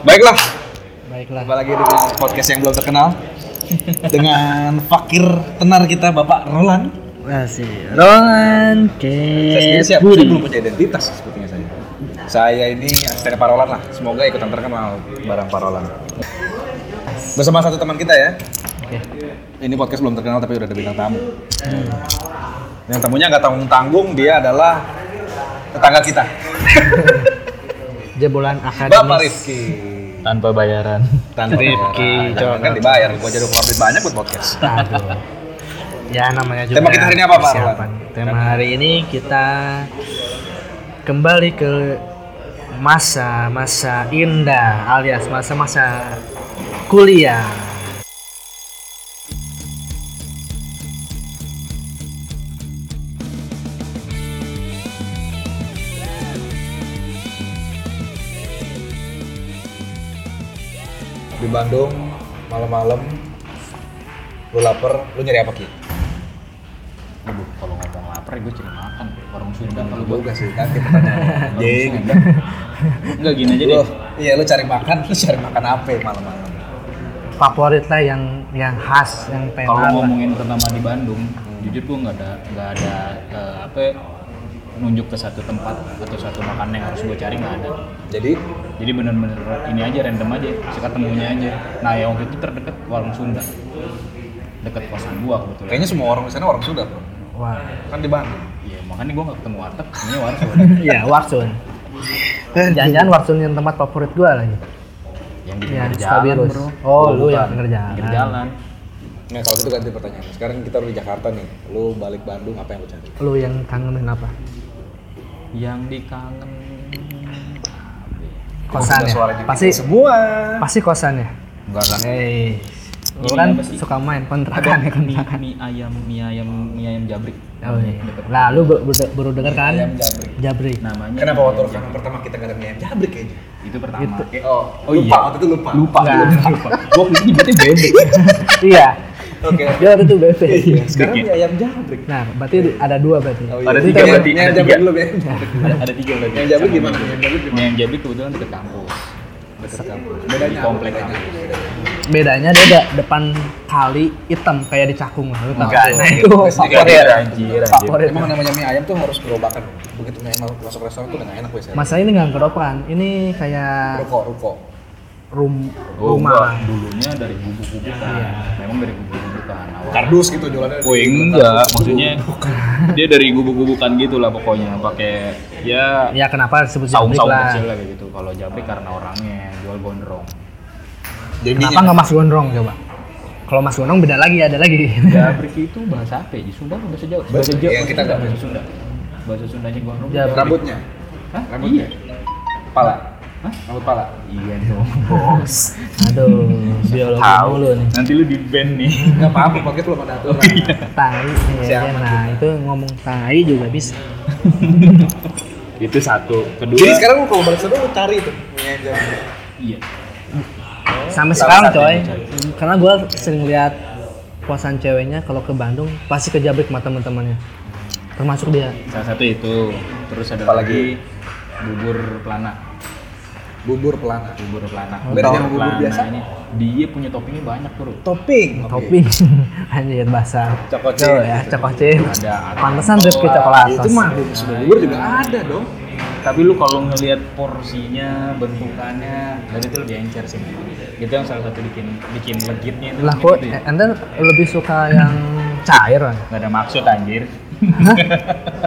Baiklah, Baiklah. kembali lagi dengan podcast yang belum terkenal dengan fakir tenar kita Bapak Roland. Masih. Roland Saya sendiri K. siap, saya belum Budi. punya identitas sepertinya saya. Saya ini asisten Pak Roland lah, semoga ikutan terkenal barang Pak Roland. Bersama satu teman kita ya, Oke. ini podcast belum terkenal tapi udah ada bintang tamu. Hmm. Yang tamunya nggak tanggung-tanggung, dia adalah tetangga kita, Jebolan akademis. Bapak Rifki. tanpa bayaran. Tanpa Rifki, bayaran. Jangan coba. kan dibayar, gua jadi upload banyak buat podcast. Aduh. Ya namanya juga. Tema kita hari ini apa, Pak persiapan. Tema hari ini kita kembali ke masa-masa indah alias masa-masa kuliah. Di Bandung malam-malam lu lapar, lu nyari apa Ki? Aduh, kalau ngomong lapar gue cari makan warung Sunda kalau Lu gue. juga sih nanti pertanyaan. Jeng. Enggak gini aja Lu, deh. iya lu cari makan, lu cari makan apa ya malam-malam? Favorit lah yang yang khas yang Kalau tenar. lah. ngomongin pertama di Bandung, jujur gue nggak ada nggak ada eh, apa ya, nunjuk ke satu tempat atau satu makanan yang harus gue cari nggak ada. Jadi Jadi bener-bener ini aja random aja, seketemunya aja. Nah yang waktu itu terdekat warung Sunda, deket kosan gua kebetulan. kayaknya semua orang di sana orang Sunda, Bro. Wah. Kan di Bandung. Iya makanya gue nggak ketemu warteg, ini warung Iya, Warsun. Jangan-jangan Warsun yang tempat favorit gua lagi. yang di Yang pinggir jalan Stabilus. bro. Oh, lu bukan. yang pinggir jalan. Pinggir jalan. Nah, kalau gitu ganti pertanyaan. Sekarang kita udah di Jakarta nih. Lu balik Bandung apa yang lu cari? Lu yang kangenin apa? Yang dikangen Kosan ya. Suara gitu. Pasti semua. pasti kosan ya. Enggak lah. Hei. Lu Ini kan apa sih? suka main ada kontrakan ya mie, kontrakan. mie ayam mie ayam mie ayam jabrik Oh, iya. Nah, lu baru, baru denger kan? Nah, Iya, Ayam jabrik. Jabrik. namanya Kenapa mie waktu ayam rekaman pertama kita gak ada mie ayam jabrik kayaknya? jabrik. itu pertama Gitu. Eh, oh, Oh lupa, iya. waktu itu lupa. lupa Nggak. gua lupa gua waktu itu nyebutnya bebek iya. Oke. Dia waktu itu BP. Iya, sekarang mie ayam jabrik. nah, berarti ada dua berarti. Oh, Ada Jadi tiga kayak berarti, mie ayam ada jabrik tiga. dulu, mie ayam jabrik. ada, ada tiga berarti Yang jabrik Sama gimana? mie Yang jabrik ayam. mie ayam jabrik kebetulan deket kampus Dekat kampus. di komplek apa kampus Bedanya dia ada depan kali hitam kayak di cakung lah. Lu tahu. Enggak, Nah, anjing. itu Pasti favorit. ada. anjir Favorit. Emang namanya mie ayam tuh harus gerobakan. Begitu mie ayam masuk restoran tuh udah nggak enak biasanya. Masa ini nggak keropan, ini kayak Ruko, ruko. rum, Oh, rumah. enggak. dulunya dari gubuk-gubukan Iya. memang dari gubuk-gubukan awal Kardus gitu jualannya. Oh enggak, maksudnya dia dari gubuk-gubukan gitu lah pokoknya pakai ya Ya kenapa disebut saung jabrik saung lah? kecil lah kayak gitu kalau jabrik karena orangnya yang jual gondrong Kenapa ya. nggak Mas Gondrong coba? Kalau Mas Gondrong beda lagi ada lagi. jabrik itu bahasa apa ya? Di Sunda apa bahasa Jawa Bahasa Jawa. Yang kita nggak bahasa Sunda bahasa Sundanya gondrong Jabrik. Rambutnya, Hah? Rambutnya. iya kepala, Hah? rambut kepala. iya dong bos Aduh, biologi mulu nih. nanti lu di band nih Nggak apa-apa, pakai belum ada Oh, aturan. iya. Tai, ya, Siapa nah itu ngomong tai juga bisa. itu satu kedua Jadi sekarang lu kalau balik sana lu cari itu mie ayam jabrik. iya Sampai Sama sekarang satu coy, yang cari. karena gue sering lihat puasan ceweknya kalau ke Bandung pasti ke Jabrik sama teman-temannya. Termasuk dia. salah satu itu terus ada Apalagi? lagi bubur pelana Bubur pelana. bubur pelana Bedanya sama bubur biasa? ini dia punya toppingnya banyak bro Topping. Topping, anjir basah. Cokocin. Tuh ya, cokocin. Ada Pantesan Rifki coklat. Ah, Itu mah sudah bubur juga ada dong. tapi lu kalau ngelihat porsinya bentukannya dari itu lebih encer sih itu yang salah satu bikin bikin legitnya itu Lah gitu kok, ya. ente lebih suka yang cair kan? nggak ada maksud anjir Hah?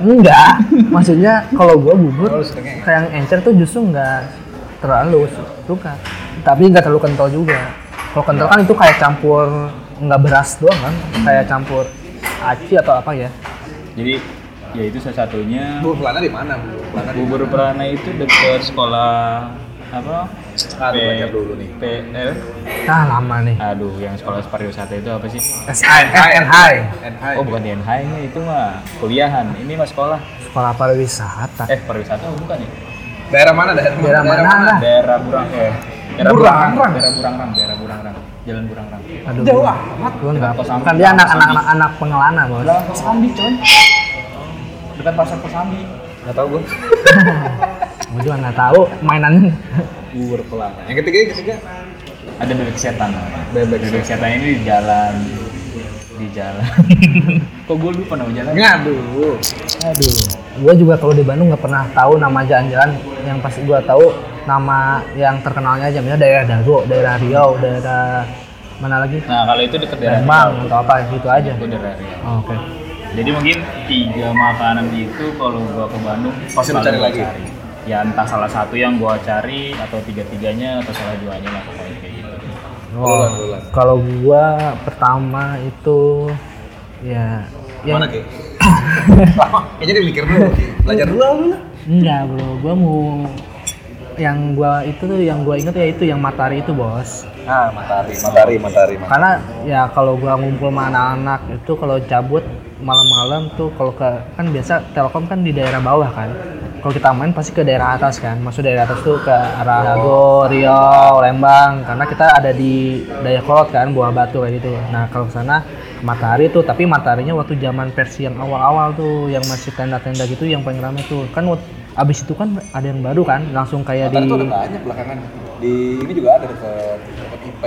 enggak maksudnya kalau gua Oh, lu bubur sukanya kayak yang encer tuh justru enggak terlalu su- suka tapi enggak terlalu kental juga kalau kental kan itu kayak campur enggak beras doang kan kayak campur aci atau apa ya jadi ya itu salah satunya Bubur pelana di mana? Bubur pelana di bubur pelana itu dekat sekolah apa Aduh, baca dulu nih. PL nah lama nih aduh yang sekolah pariwisata itu apa sih SNH NHI. oh bukan di NH nya itu mah kuliahan ini mah sekolah sekolah pariwisata eh pariwisata oh, bukan ya Daerah mana? Daerah, daerah mana Ah. lah daerah Burang eh daerah Burangrang. Burangrang daerah Burangrang daerah Burangrang jalan Burangrang aduh Jauh amat. gua enggak Kos Ambi. kan dia anak anak Kos anak, anak pengelana bos Jalan Kosambi coy dekat pasar Kosambi Nggak tahu gue. gua juga enggak tahu mainannya Uwer pelana. Yang ketiga yang ketiga Ada bebek setan. Bebek bebek setan ini di jalan di jalan. Kok gue lupa nama jalan? ngadu. Aduh, gue juga kalau di Bandung nggak pernah tahu nama jalan-jalan. Yang pasti gue tahu nama yang terkenalnya aja, misalnya daerah Dago, daerah Riau, daerah mana lagi? Nah kalau itu deket daerah Lembang atau apa gitu aja. Itu daerah Riau. Oh, Oke. Jadi mungkin tiga makanan itu kalau gua ke Bandung Pasti lu selalu cari gua lagi? Ya entah salah satu yang gua cari atau tiga-tiganya atau salah duanya lah pokoknya kayak gitu. Bulan, Oh, bulan. kalau gua pertama itu ya yang Mana Ki? Lama. Kayaknya dia mikir dulu. Belajar dulu lah lu lah. enggak bro, gua mau yang gua itu tuh yang gua inget ya itu yang Matahari itu bos. Ah, matahari, matahari, matahari. matahari. Karena ya kalau gua ngumpul sama anak-anak itu kalau cabut malam-malam tuh kalau ke kan biasa Telkom kan di daerah bawah kan. Kalau kita main pasti ke daerah atas kan. Masuk daerah atas tuh ke arah Oh. Dago, Riau, Lembang karena kita ada di Dayakolot kan, Buah Batu kayak gitu. Nah, kalau ke sana ke Matahari tuh, tapi mataharinya waktu zaman versi yang awal-awal tuh yang masih tenda-tenda gitu yang paling rame tuh. Kan wak- abis itu kan ada yang baru kan, langsung kayak Matahari di tuh ada banyak belakangan. Di ini juga ada deket deket IP.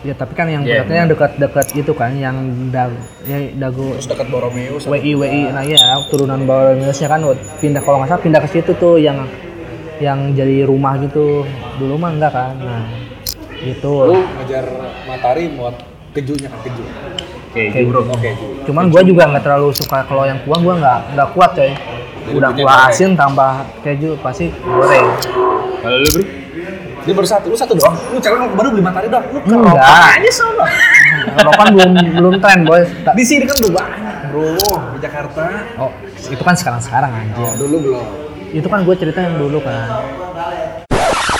Ya tapi kan yang Iya, dekatnya yang dekat-dekat itu kan yang dag ya, dago Terus deket Boromeo. sama- WI WI nah ya turunan bawah Indonesia kan pindah kalau nggak salah pindah ke situ tuh yang yang jadi rumah gitu dulu mah enggak kan nah Lu gitu ngajar matahari muat kejunya kan keju. Oke, itu bro. Oke, keju. gitu. cuman gua juga nggak terlalu suka kalau yang kuah gua nggak nggak kuat coy bikinnya udah kuah goreng. asin tambah keju pasti goreng Kalau lu bro? Dia baru satu, lu satu doang. Lu cewek baru beli matahari doang. Lu kerokan Enggak. aja sama. kalau kan belum belum tren boy Ta- Di sini kan udah banyak, bro. Di Jakarta. oh itu kan sekarang sekarang anjir Ya, dulu belum. itu kan gue cerita yang dulu kan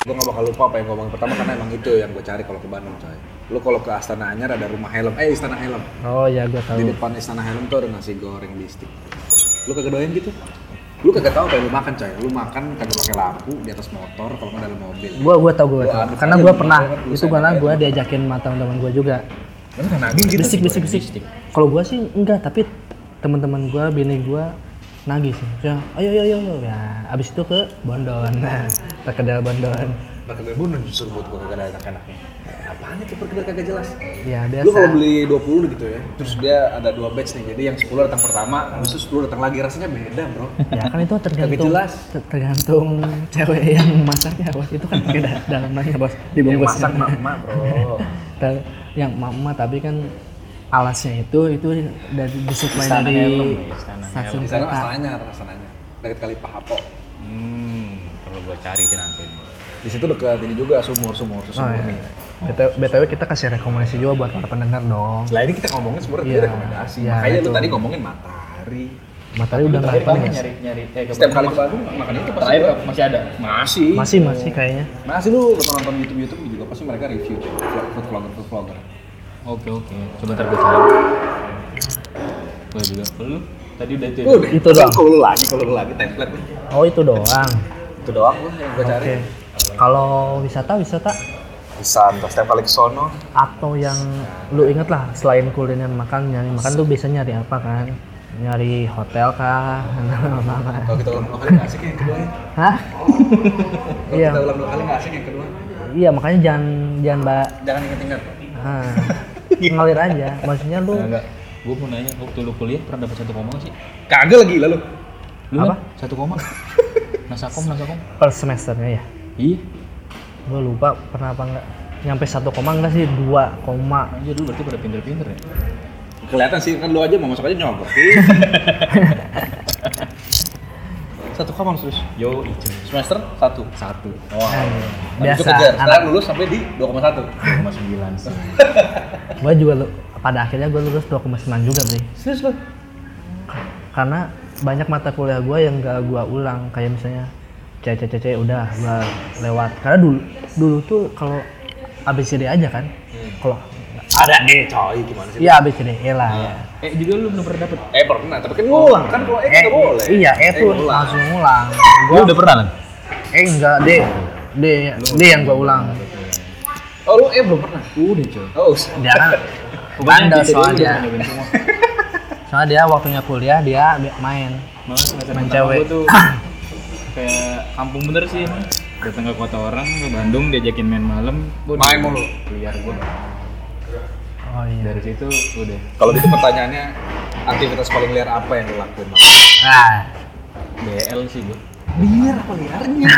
Gue gak bakal lupa apa yang gue omongin pertama karena emang itu yang gue cari kalau ke Bandung, coy. Lu kalau ke Astana Anyar ada rumah helm. Eh, Istana Helm. oh ya gue tahu Di depan Istana Helm tuh ada nasi goreng bistik. Lu kagak doyan gitu? Lu kagak tahu apa yang lu makan, coy. Lu makan kagak pakai lampu di atas motor kalau nggak dalam mobil. gua gua tau gua Gua tau aduk karena aja gua lu, pernah gua aduk itu aja. karena gua diajakin sama teman-teman gua juga Lu kan nagih gitu. bisik bisik bisik kalau gua sih enggak tapi teman-teman gua bini gua nagih sih ya ayo ayo ayo ayo." ya abis itu ke Bondon nah perkedel Bondon Perkedel bunuh Nah, justru buat gue kagak ada enak-enaknya. Eh, Apaan itu perkedel kagak jelas? ya Lu kalau biasa beli 20 gitu ya, terus dia ada dua batch nih. Jadi yang 10 datang pertama, habis itu 10 datang lagi rasanya beda, Bro. ya kan itu tergantung jelas. ter- tergantung cewek yang masaknya bos itu kan pakai da- dalamannya bos Yang dibungkus masak emak-emak, Bro. Ter- yang mama tapi kan alasnya itu itu dari disuplai Istana dari Helm ya, Istana stasiun Di sana kereta Astana Anyar, Astana Anyar. Dekat kali Pahapo. Hmm, perlu gua cari sih nanti. Di situ dekat ini juga sumur, sumur, sumur Oh, nih. iya. BTW, kita kasih rekomendasi juga buat para pendengar dong. Lah ini kita ngomongin sebenarnya Iya. rekomendasi. Iya, Makanya lu itu. tadi ngomongin matahari. Matahari udah ya? nggak Terakhir penting. nyari nyari eh ke Setiap kali Bandung ke Bandung makan itu pasti. Terakhir masih ada. Masih. Masih masih kayaknya. Masih lu kalau nonton YouTube YouTube juga pasti mereka review cuy. Food vlogger, food vlogger. Oke oke. Coba ntar gua cari. Gua juga. Lu tadi udah itu. ya? Udah, Itu doang. Kalau lu lagi, kalau lu lagi template nih. Oh itu doang. Itu doang lu yang gua Oke. cari. Kalau wisata wisata Bisa, terus setiap kali ke sono. atau yang lu inget lah selain kuliner makan nyari makan tuh biasanya nyari apa kan? Nyari hotel kah? Kalau kita ulang dua kali nggak asik yang kedua ya. Hah? Kalau Iya. kita ulang dua kali nggak asik yang kedua. Iya makanya jangan jangan mbak Jangan inget-inget. ah, ngalir aja. Maksudnya lu Enggak, enggak. Gua mau nanya waktu lu kuliah pernah dapat satu koma nggak sih? Kagak lagi lah lu. Lu Apa? kan? Satu koma. Nasakom, nasakom. per semesternya ya? Iya. Gue lupa pernah apa enggak nyampe 1, enggak sih 2, koma Anjir dulu berarti pada pinter-pinter ya. Kelihatan sih kan lu aja mau masuk aja nyogok. Satu kamar terus. Yo, itu Semester satu. satu. Oh. Nah, Biasa. Itu biasa kejar. Sekarang anak lulus sampai di 2,1. 2,9 sih. gue juga lu- pada akhirnya gue lulus 2,9 juga sih Serius lu? karena banyak mata kuliah gue yang gak gue ulang kayak misalnya CCCC udah gue lewat karena dulu dulu tuh kalau ABCD aja kan kalau Hmm. Ada nih coy, gimana sih? iya ABCD E lah ya Eh juga lu belum pernah dapet? Eh pernah, tapi kan ngulang kan kalau eh E, nggak boleh. Eh, iya E tuh ngulang. langsung ulang Lu udah pernah kan? E enggak D D D yang gue ulang Oh lu eh belum pernah? Udah coy. Oh, usah. dia kan bandel gitu soalnya soalnya dia waktunya kuliah dia main Mas, Main cewek. tuh kayak kampung bener sih emang. datang ke kota orang ke Bandung diajakin main malam bodoh. Main mulu. liar gue Oh iya. dari situ udah Kalau gitu pertanyaannya aktivitas paling liar apa yang lo lakuin? Mak? Ah, BL sih gue Liar apa liarnya?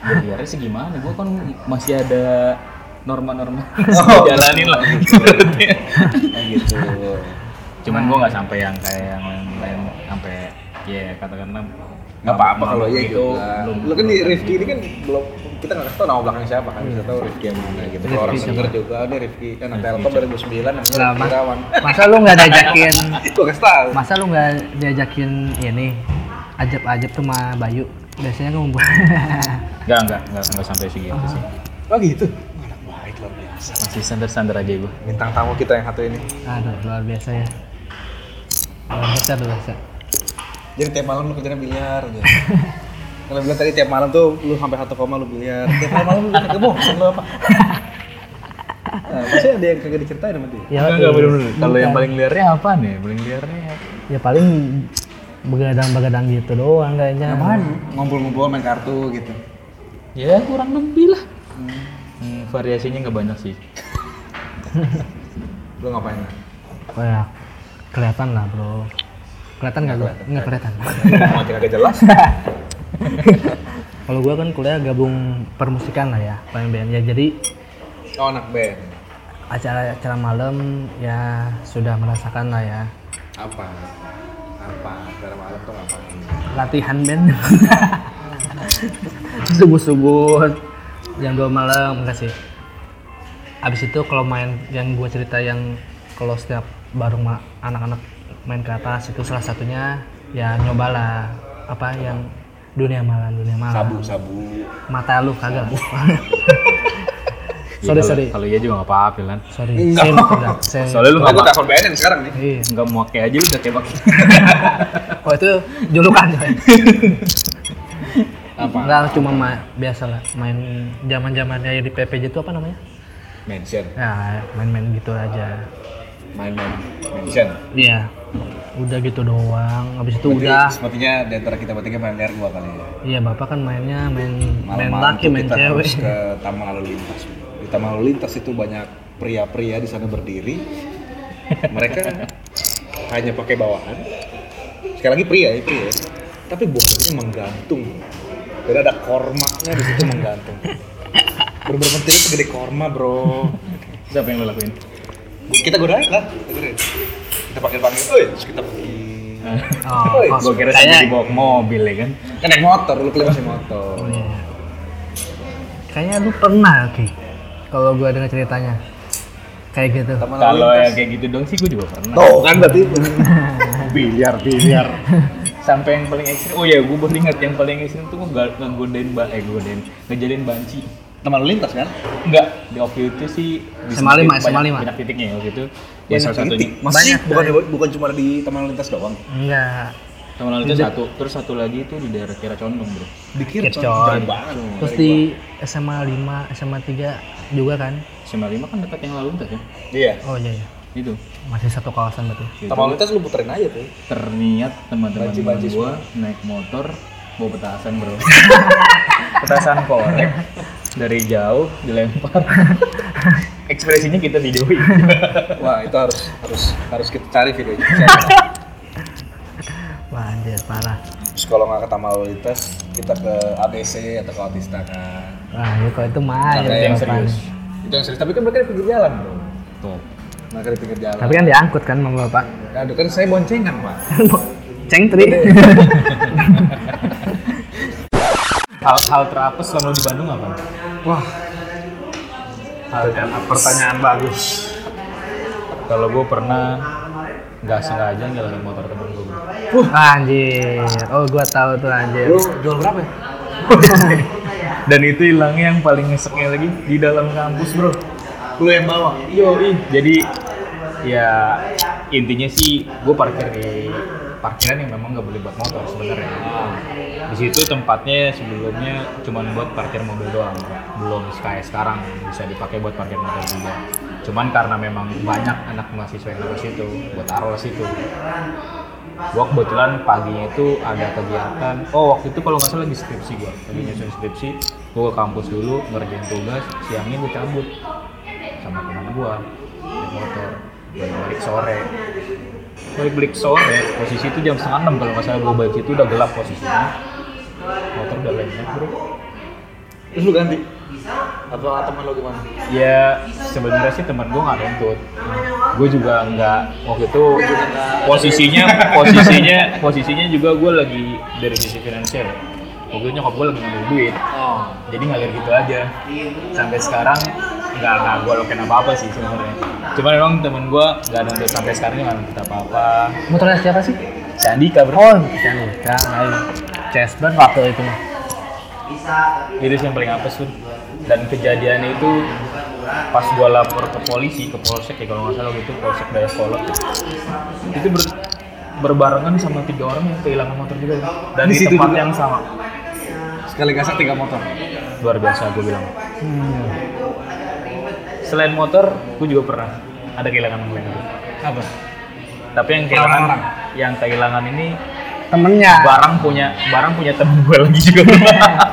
liarnya sih gimana gue kan masih ada norma-norma Oh. jalanin lah sebenarnya. nah, gitu. cuman gue nggak sampai yang kayak yang lain-lain sampai ya katakanlah Gak apa-apa kalau iya gitu gitu. Lo kan di Rifki ini kan belum kita nggak tahu nama belakang siapa kan bisa tahu Rifki yang mana gitu. Kalau orang Rifki denger juga ini Rifki anak Rifki Telkom 2009 namanya siapa? Lah, Rifki Mas. Irawan. masa lu nggak diajakin Gue kasih tahu. masa lu nggak diajakin ini ajab-ajab tuh sama Bayu biasanya kan membuat nggak nggak nggak nggak sampai segitu sih Oh gitu. Anak baik luar biasa. masih standar-standar aja gue Bintang tamu kita yang satu ini. aduh luar biasa ya luar biasa luar biasa Jadi tiap malam lu kerjanya biliar gitu. Kalau bilang tadi tiap malam tuh lu sampai satu koma lu biliar. Tiap malam lu kagak bosan lu apa? Nah, maksudnya ada yang kagak diceritain sama dia. ya Enggak, enggak, Iya, bener-bener. Kalau yang Bukan. paling liarnya apa nih? Paling liarnya ya paling begadang-begadang gitu doang kayaknya Ngumpul-ngumpul main kartu gitu. ya kurang lebih lah. Hmm, variasinya nggak banyak sih. Lu ngapain? oh ya kelihatan lah bro kelihatan nggak gua? nggak kelihatan Mau kagak jelas. kalau gua kan kuliah gabung permusikan lah ya paling BM ya jadi Oh anak band. acara-acara malam ya sudah merasakan lah ya Apa? Apa? Dari malam tuh ngapain? latihan band subuh-subuh jam 2 malam enggak sih abis itu kalau main yang gue cerita yang kalau setiap bareng ma- anak-anak main ke atas itu salah satunya ya nyobalah apa yang dunia malam dunia malam sabu. mata lu kagak Iya. sorry Ya, kalau- sorry Kalau iya juga nggak apa-apa lan. sorry saya mau kerja saya Soalnya lu Lu nggak gua telepon BNN sekarang nih. Iya. nggak mau kayak aja udah kayak pakai. oh itu julukan coy. Apa? Enggak cuma ma- biasa lah main zaman zamannya di PPJ itu apa namanya? Mention. Ya main-main gitu aja. Main-main. Mention. Iya. Udah gitu doang. Habis itu Berarti udah. Sepertinya di antara kita bertiga paling liar gua kali ya. Iya bapak kan mainnya main main Malam-malam laki tuh main kita cewek. harus ke taman lalu lintas. Di taman lalu lintas itu banyak pria-pria di sana berdiri. Mereka hanya pakai bawahan. Sekali lagi pria ya, pria. Tapi buahnya menggantung. Jadi ada kormaknya di situ menggantung. Bener-bener pentil itu gede korma bro. Siapa yang lo lakuin? Kita godain lah, kita godain. Kita panggil-panggil, oi, terus kita pergi. Oh, Woi, kos- Gue kira kayaknya- sampai Nah, dibawa ke mobil ya kan. Kan naik motor, lu keluar masih motor. Iya. Kayaknya lu pernah Ki. Kalau gua dengar ceritanya. Kayak gitu. Taman lalu Kalau lintas. yang kayak gitu dong sih gue juga pernah. Tuh kan berarti. biliar biliar sampai yang paling ekstrim oh ya gue baru ingat yang paling ekstrim tuh gue nggak godain ba eh godain ngejalin banci Taman lalu lintas kan? enggak di waktu itu sih di SMA lima, banyak- SMA lima. banyak titiknya ya waktu itu ya Ya, salah satunya titik. Masih Banyak, bukan bukan cuma di taman lalu lintas doang. Enggak. sama lalu itu satu terus satu lagi itu di daerah Kira Condong bro Di Kircon. jauh banget. Terus di SMA 5, SMA 3 juga kan? SMA lima kan dekat yang lalu lintas ya Iya. Oh iya iya. itu Masih satu kawasan berarti. Itu Taman lalu lintas lu puterin aja tuh. terniat teman-teman Banci-banci gue naik motor bawa petasan bro petasan korek dari jauh dilempar ekspresinya kita videoin Wah, itu harus harus harus kita cari videonya. Wah anjir parah. Terus kalau nggak ke taman lalu lintas, kita ke ABC atau ke Autista kan. Wah ya kalau itu Ada main. yang Bang. serius. Itu yang serius, tapi kan mereka di pinggir jalan, Bro. Tuh. Mereka di pinggir jalan. Tapi kan diangkut kan sama bapak. Aduh, kan saya boncengan, Pak. Ceng tri. Hal, hal terapes selama lu di Bandung apa? Wah. Pertanyaan bagus. Kalau gue pernah nggak sengaja nyalain motor temen gue. Anjir. Oh gua tahu tuh anjir. Lu jual berapa ya? Dan itu hilangnya yang paling ngeseknya lagi di dalam kampus bro. Lu yang bawa. Yoi. Jadi ya intinya sih gue parkir di parkiran yang memang nggak boleh buat motor sebenarnya. Di situ tempatnya sebelumnya cuma buat parkir mobil doang, belum kayak sekarang bisa dipakai buat parkir motor juga. Cuman karena memang banyak anak mahasiswa yang lulus itu, buat taruh situ. Gua kebetulan paginya itu ada kegiatan. Oh waktu itu kalau nggak salah lagi skripsi gua, lagi nyusun skripsi. Gua ke kampus dulu ngerjain tugas, siangnya gua cabut sama teman gua naik motor. Gua balik sore. Balik balik sore, posisi itu jam setengah enam kalau nggak salah gua balik itu udah gelap posisinya. Motor udah lenyap bro. Terus lu ganti? Apa teman lu gimana? Ya sebenarnya sih teman gue nggak nuntut. Gue juga nggak waktu itu posisinya posisinya posisinya juga gue lagi dari sisi finansial. Waktu itu nyokap gue lagi ngambil duit, Oh. jadi ngalir gitu aja. Sampai sekarang nggak nggak gue lokin apa apa sih sebenarnya. Cuman emang temen gue nggak nuntut sampai sekarang dia nggak nuntut apa apa. Motornya siapa sih? Sandika bro. Oh, jangan lupa. Chessburn waktu itu mah. itu sih yang paling apes tuh dan kejadian itu pas gua lapor ke polisi ke polsek ya kalau nggak salah gitu polsek Dayakolot itu ber- berbarengan sama tiga orang yang kehilangan motor juga dan Di di, situ tempat juga? yang sama Sekali gasak tiga motor. luar biasa gue bilang selain motor gue juga pernah ada kehilangan yang lain gitu. Apa? tapi yang kehilangan Orang-orang. yang kehilangan ini Temennya. Iya. barang punya barang punya temen gue lagi juga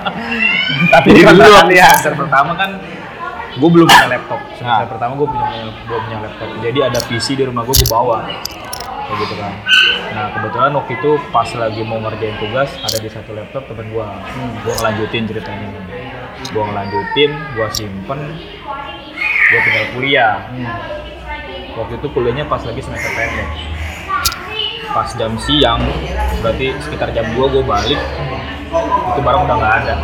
tapi Jadi dulu dulu waktu ya. semester pertama kan gue belum punya laptop semester pertama gue punya belum punya laptop jadi ada PC di rumah gue gue bawa kayak gitu kan nah kebetulan waktu itu pas lagi mau ngerjain tugas ada di satu laptop temen gue gue ngelanjutin ceritanya gue ngelanjutin gue simpen gue tinggal kuliah waktu itu kuliahnya pas lagi semester pendek pas jam siang berarti sekitar jam 2 gue balik itu barang udah nggak ada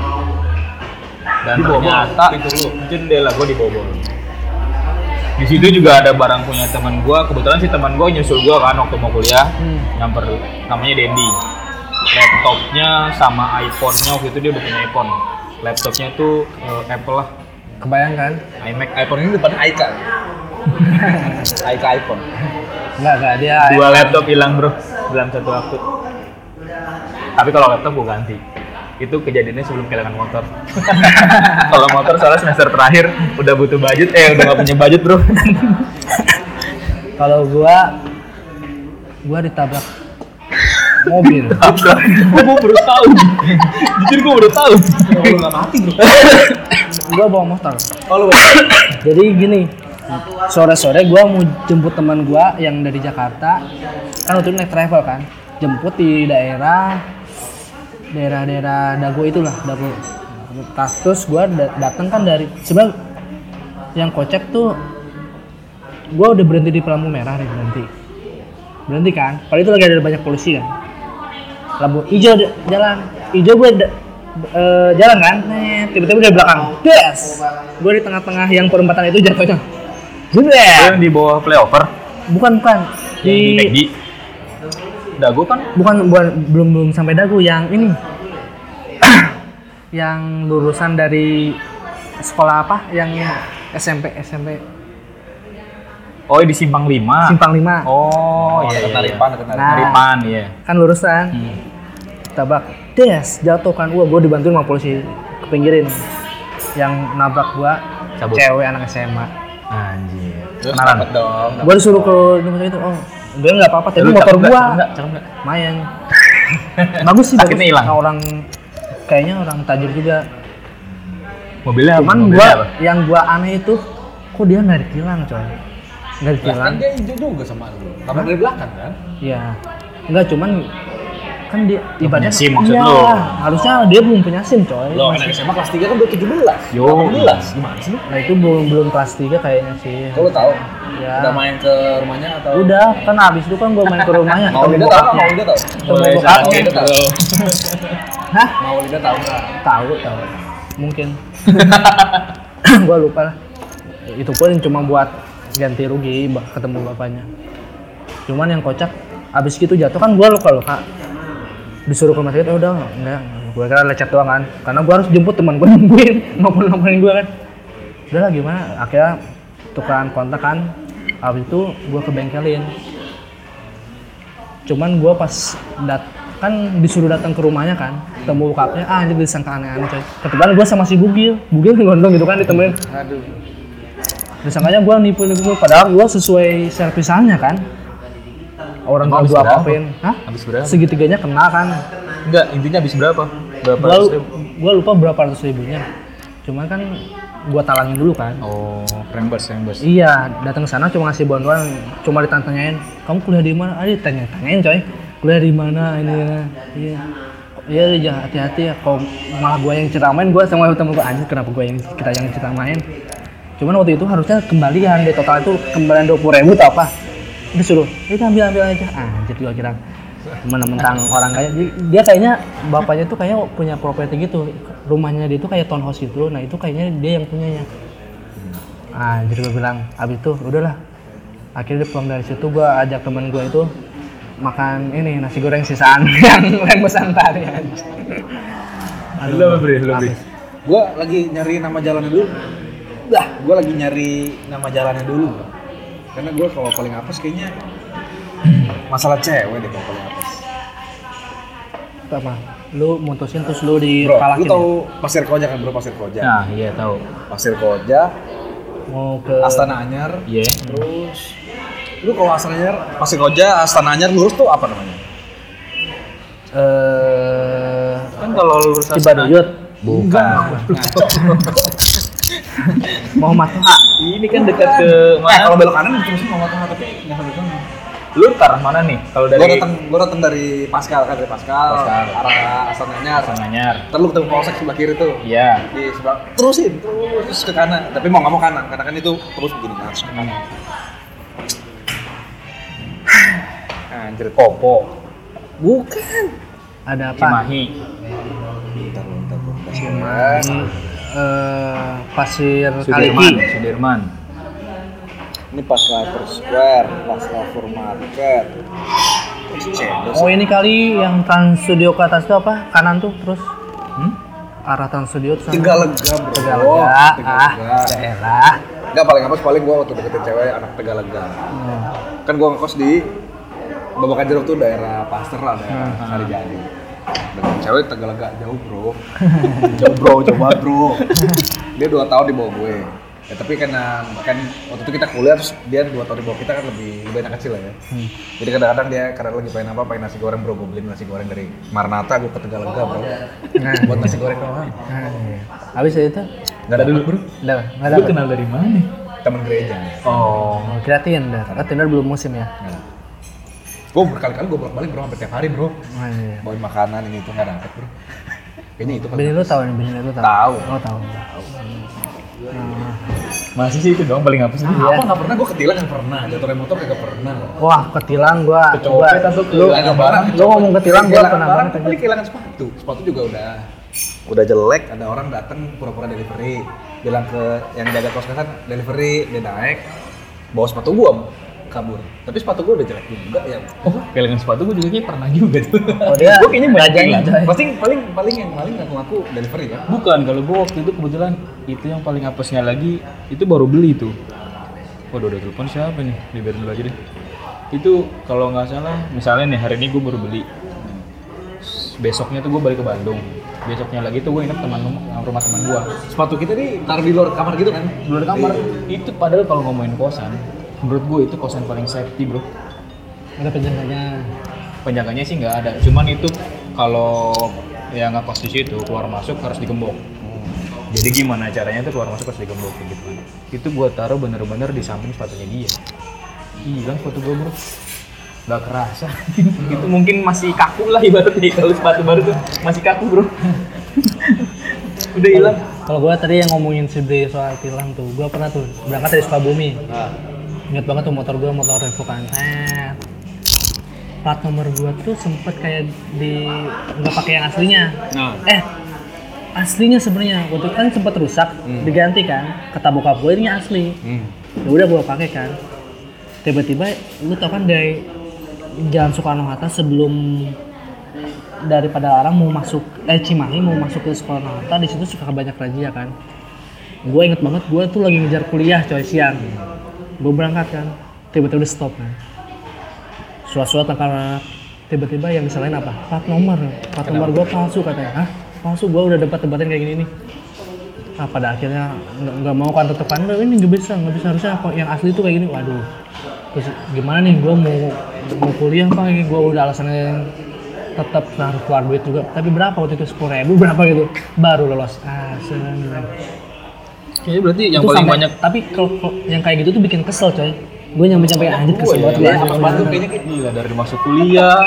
dan Dibobol, ternyata pintu lu. jendela gue dibobol di situ juga ada barang punya teman gue kebetulan si teman gue nyusul gue kan waktu mau kuliah Hmm. nyamper namanya Dendi laptopnya sama iPhone-nya waktu itu dia udah punya iPhone laptopnya tuh eh, Apple lah Kebayang kan? iMac iPhone ini depan Aika. Aika iPhone. Enggak, enggak dia. dua laptop hilang bro dalam satu waktu tapi kalau laptop gue ganti itu kejadiannya sebelum kehilangan motor kalau motor soalnya semester terakhir udah butuh budget eh udah gak punya budget bro Kalau gua gua ditabrak mobil. tabrak gue baru tahu jujur gue baru tahu Lu nggak mati bro. gua bawa motor. Oh lu. Jadi gini, sore-sore gua mau jemput teman gua yang dari Jakarta. Kan waktu itu naik travel kan. Jemput di daerah daerah-daerah Dago itulah, Dago. Tas terus gua da- datang kan dari sebenarnya yang kocak tuh gua udah berhenti di Pelamu Merah nih berhenti. Berhenti kan? Padahal itu lagi ada banyak polisi kan. Lampu hijau d- jalan. Hijau gue d- eh, jalan kan. Net, Tiba-tiba dari belakang. Des. Gue di tengah-tengah yang perempatan itu jatuhnya. Lu Jeder. yang di bawah playover Bukan bukan. yang di Di Peggy udah gue kan bukan bukan belum belum sampai dagu yang ini. yang lulusan dari sekolah apa? Yang SMP SMP oh di simpang lima Simpang 5. oh Ada iya iya ketaripan, ada ketaripan. Nah. Ripan, iya Kan lulusan. Hmm. tabak des jatuh kan gua gue dibantuin sama polisi kepinggirin yang nabrak gua Cabut. cewek anak SMA anjir Terus Kenalan? dapat dong. gua disuruh ke rumah sakit oh gue nggak apa-apa tapi Lu motor cakep nggak? gua Cakep nggak? Cakep nggak? lumayan bagus sih bagus Sakitnya hilang. Nah, orang kayaknya orang tajir juga mobilnya apa? cuman Mobilnya gua apa? yang gua aneh itu kok dia narik hilang coy narik Lah kan hilang dia hijau juga sama lu. Tapi dari belakang kan. ya enggak cuman kan dia punya ibaratnya SIM maksud Iya, lu? harusnya dia belum punya sim coy Lo Masih- anak SMA kelas 3 kan udah 17. Yo. 18. Gimana sih lu? Nah itu belum belum kelas 3 kayaknya sih. Kok Oh, lu tahu? Ya. Udah main ke rumahnya atau Udah, kan abis itu kan gue main ke rumahnya. Mau ketemu Lida tahu? Mau bokapnya. Lida tahu? Boleh Mulai saat saat ini, bro. Hah? Mau Lida tahu nggak? Tahu tahu. Mungkin. gue lupa lah. Itu pun cuma buat ganti rugi ba- ketemu bapaknya. Cuman yang kocak abis gitu jatuh kan gue luka luka disuruh ke rumah sakit "Eh, udah enggak gue kira lecet doang kan karena gue harus jemput teman gue nungguin maupun nomborin gue kan udah lah gimana akhirnya tukeran kontak kan habis itu gue ke bengkelin cuman gue pas dat kan disuruh datang ke rumahnya kan ketemu bokapnya ah anjir disangka aneh-aneh coy kebetulan gue sama si bugil bugil gondong gitu kan ditemenin Aduh. disangkanya gue nipu nipu padahal gue sesuai servisannya kan orang kalau Emang habis gua berapa? apa-apain Hah? Habis berapa? segitiganya kena kan Enggak, intinya habis berapa? Berapa gua, ratus ribu? gua lupa berapa ratus ribunya cuman kan gua talangin dulu kan Oh, reimburse, reimburse. Iya, datang ke sana cuma ngasih bantuan, cuma ditanyain, kamu kuliah di mana? Ada tanya tanyain coy, kuliah di mana ini? ini. Iya, iya jangan hati-hati ya. Kalau malah gua yang ceramain, gua sama temen gua anjir kenapa gua yang kita yang ceramain? Cuman waktu itu harusnya kembalian deh total itu kembalian dua puluh ribu atau apa? Disuruh, ini ambil ambil aja. Ah, Anjir gua kira mentang orang kaya Dia- dia kayaknya bapaknya tuh kayak punya properti gitu rumahnya dia tuh kayak townhouse gitu nah itu kayaknya dia yang punyanya Ah, jadi gue bilang, abis itu udahlah. Akhirnya pulang dari situ gue ajak temen gue itu makan ini nasi goreng sisaan yang rembusan tadi. Aduh, Lu apa, Bri? Lu, Bri? habis. Gua lagi nyari nama jalannya dulu. Dah. Gua lagi nyari nama jalannya dulu. Karena gua kalau paling apes kayaknya masalah cewek deh kalau paling apes. Apa? Lu mutusin terus lu di Bro, kepala lu tau Pasir Koja kan bro Pasir Koja? Nah, iya tahu. Pasir Koja, mau ke Astana Anyar, Iya. terus lu kalau Astana Anyar, Pasir Koja, Astana Anyar lurus tuh apa namanya? eh Kan kalau lulus Cibaduyut. Bukan. Muhammad Toha. Ini kan dekat ke Eh, kalau mana? belok kanan terus mau tengah tapi nggak sampai sana. Lu ke arah mana nih? Kalau Gua dari datang gua datang dari Pascal kan dari Pascal, Pascal. arah Astana Anyar. Sanganyar. Terus lu ketemu polsek sebelah kiri tuh. Iya. di sebelah terusin terus, terus ke kanan tapi mau nggak mau kanan karena kan itu terus begini harus ke kanan anjir Kopo, bukan Ada apa? Cimahi, bentar lu, bentar lu. Cuman eh, pasir Sudirman, Kaliki. Sudirman. ini pas Lover Square pas Lover Market terus Cendol Oh ini kali yang Trans Studio ke atas itu apa? Kanan tuh terus Hmm? Oh, arah Trans Studio tuh. tiga lega bro Tegalega. Ah, Tegalega. daerah. nggak paling apa paling gua waktu deketin cewek anak tegalega Oh. kan gua ngekos di Babakan Jeruk tuh daerah Pasteur lah, daerah Hmm. Sari Jadi. Dengan cewek Tegalega jauh bro, jauh bro, coba bro. Dia dua tahun di bawah gue. Ya, tapi karena kan waktu itu kita kuliah terus dia dua tahun di bawah kita kan lebih lebih anak kecil lah ya. Jadi kadang-kadang dia karena lagi pengen apa, pengen nasi goreng bro, gue beliin nasi goreng dari Marnata gue ke Tegalega bro. Buat nasi goreng doang. Ah, iya. Habis itu Gak Nah. ada dulu bro, udah enggak Lu ada. kenal dari mana? teman gereja. Oh, Kira Tinder. Ah, Tinder belum musim ya. Nah. Gue berkali-kali gue bolak-balik bro, hampir tiap hari bro. Oh, iya. Bawain makanan ini itu nggak dapet bro. Kayaknya itu Bini lu tahu nih, bini lu tahu. Tahu. Oh, tahu. masih sih itu dong paling apa Iya. sih? Apa nggak pernah? Gue ketilang nggak pernah. Jatuh dari motor nggak pernah. Wah, ketilang gua. gua Kecopet atau lu, kehilangan lu barang? lu ngomong ketilang gua pernah Orang banget. kali kehilangan sepatu. Sepatu juga udah udah jelek. Ada orang datang pura-pura delivery, bilang ke yang jaga kos kosan delivery, dia naik, bawa sepatu gua kabur. Tapi sepatu gua udah jelek juga ya. Oh, kehilangan sepatu gue juga kayaknya pernah juga tuh. Oh, dia Gua kayaknya banyak jajan, yang coy. Pasti paling paling yang paling ngaku ngaku delivery kan. Bukan, kalau gue waktu itu kebetulan itu yang paling apesnya lagi itu baru beli itu. Waduh, udah telepon siapa nih? Dibiarin dulu aja deh. Itu kalau nggak salah, misalnya nih hari ini gue baru beli. S- Besoknya tuh gue balik ke Bandung. Besoknya lagi tuh gue inap teman rumah, rumah teman gue. Sepatu kita nih taruh di luar kamar gitu kan. Di luar kamar. Itu padahal kalau ngomongin kosan, menurut gue itu kosan paling safety bro. Ada penjaganya. Penjaganya sih nggak ada. Cuman itu kalau ya yang ngekos di situ keluar masuk harus digembok. Hmm. Jadi gimana caranya tuh keluar masuk harus digembok kayak gitu kan. Itu gua taruh bener-bener di samping sepatunya dia. Hilang sepatu gua bro. Gak kerasa. itu mungkin masih kaku lah ibaratnya kalau sepatu baru tuh masih kaku bro. Udah hilang. Kalau gua tadi yang ngomongin si Bri soal tilang tuh, gua pernah tuh berangkat dari Sukabumi. Ingat banget tuh motor gua motor Revo kan. Set. Plat nomor gua tuh sempet kayak di nggak pakai yang aslinya. Nah, Eh, aslinya sebenarnya waktu itu kan sempet rusak, diganti kan. Kata bokap gue ini asli. hmm. Ya udah gua pakai kan. Tiba-tiba lu tau kan dari Jalan Soekarno Hatta sebelum daripada orang mau masuk eh Cimahi mau masuk ke Soekarno Hatta di situ suka banyak razia kan. Gue inget banget gue tuh lagi ngejar kuliah coy siang. Gue berangkat kan, tiba-tiba di stop kan. Surat-surat karena tiba-tiba yang disalahin apa? Plat nomor. Plat nomor gue palsu katanya. Hah? Palsu gue udah dapat tebatin kayak gini nih. Nah, pada akhirnya nggak nggak mau kan tetep kan ini nggak bisa nggak bisa harusnya apa yang asli itu kayak gini waduh terus gimana nih gue mau mau kuliah pak ini gue udah alasannya tetap harus keluar duit juga tapi berapa waktu itu sepuluh ribu berapa gitu baru lolos ah seneng. Kayaknya berarti yang Itu paling sampai- banyak tapi kalau kalau yang kayak gitu tuh bikin kesel coy gue nyampe nyampe anjir kesel banget iya, gua. sama banget tuh kayaknya. gila dari masuk kuliah.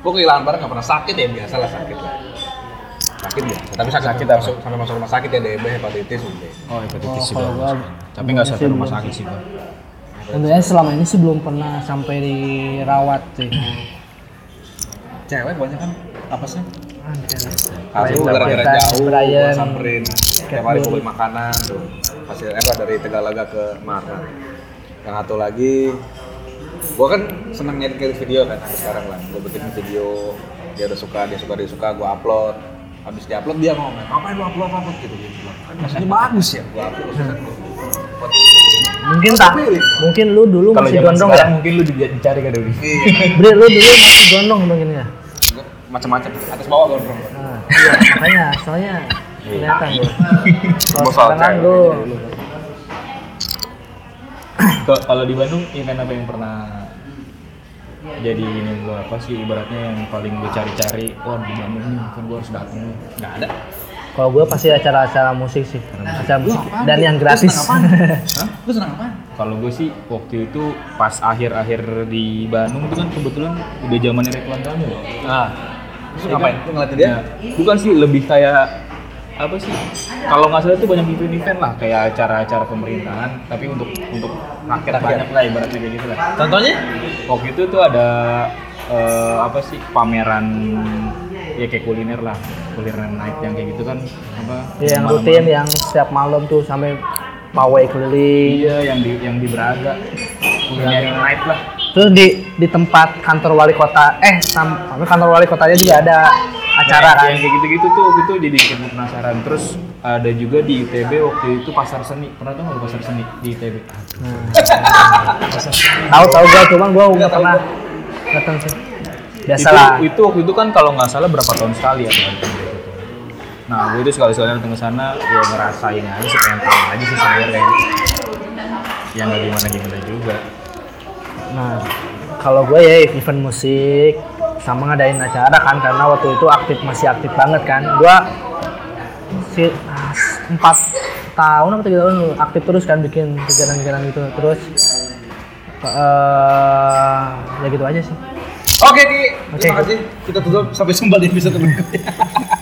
Gue kehilangan barang nggak pernah sakit ya biasa lah sakit lah. Sakit biasa, tapi sakit, Sakit masuk, sampai masuk rumah sakit ya DB, hepatitis, UB. Oh, hepatitis Oh, sih kalau Bang. gua Tapi belum nggak sampai sih, rumah belum sakit sih, Bang. tentunya selama ini sih belum pernah sampai dirawat sih Cewek banyak kan tapasnya. Brian, Aku gara-gara Brian, jauh, Brian. gua samperin. Tiap hari gue beli makanan tuh. Hasil apa dari Tegalaga ke Marat. Yang satu lagi, gue kan senang nyari edit video kan sampai sekarang lah. Gue bikin video, dia udah suka, dia suka, dia suka, gue upload. Habis di upload dia ngomong, ngapain lu upload upload gitu gitu. Kan Maksudnya bagus ya, gue upload. Ustaz, gua upload. mungkin tak mungkin lu dulu Kalau masih zaman gondrong ya sekarang mungkin lu di- dicari kan dulu. Iya, Bre, lu dulu masih gondrong mungkin ya gua macam-macam atas bawah gondrong. Nah, iya, makanya soalnya kelihatan lu. Kalau Bos soal sekarang cewek. lu Ke- Kalau di Bandung, event apa yang pernah jadi ini gua apa sih ibaratnya yang paling gue cari-cari wah di Bandung nih kan gue harus datang nih nggak ada kalau gue pasti acara-acara musik sih, acara musik dan yang gratis. Hah? Lu senang apaan? kalau gue sih waktu itu pas akhir-akhir di Bandung itu kan kebetulan udah zamannya Ridwan Kamil ah Lu ngapain? Lu ngeliatin dia? Nah, bukan sih lebih kayak apa sih kalau nggak salah itu banyak event-event lah kayak acara-acara pemerintahan tapi untuk untuk rakyat Rakyat. banyak lah ibaratnya kayak gitu lah Contohnya? waktu itu tuh ada eh, apa sih pameran ya kayak kuliner lah kuliner night yang kayak gitu kan apa Ya, yang malam-malam. rutin, yang setiap malam tuh sampai pawai keliling. iya yang di yang di Braga Iya. kuliner night lah Terus di di tempat kantor wali kota, eh sam, kantor wali kotanya juga ada acara Nah, kan. yang kayak gitu-gitu tuh waktu itu jadi ikut penasaran terus ada juga di ITB waktu itu pasar seni pernah tuh nggak lu pasar seni di ITB Hmm. Tahu tahu gue, cuman gue nggak pernah datang sih. Biasalah. itu, itu waktu itu kan kalau nggak salah berapa tahun sekali ya kalau ITB itu tuh. nah gue itu sekali-sekali datang ke sana ya ngerasain aja sih pengen pengen aja sih sebenarnya ya nggak gimana gimana juga Nah, kalau gue ya event musik sama ngadain acara kan karena waktu itu aktif masih aktif banget kan. Gue si ah, s- empat tahun atau tiga tahun aktif terus kan bikin kegiatan-kegiatan gitu terus eh ya gitu aja sih. Oke Ki, Oke. terima kasih. Kita tutup sampai jumpa di episode berikutnya.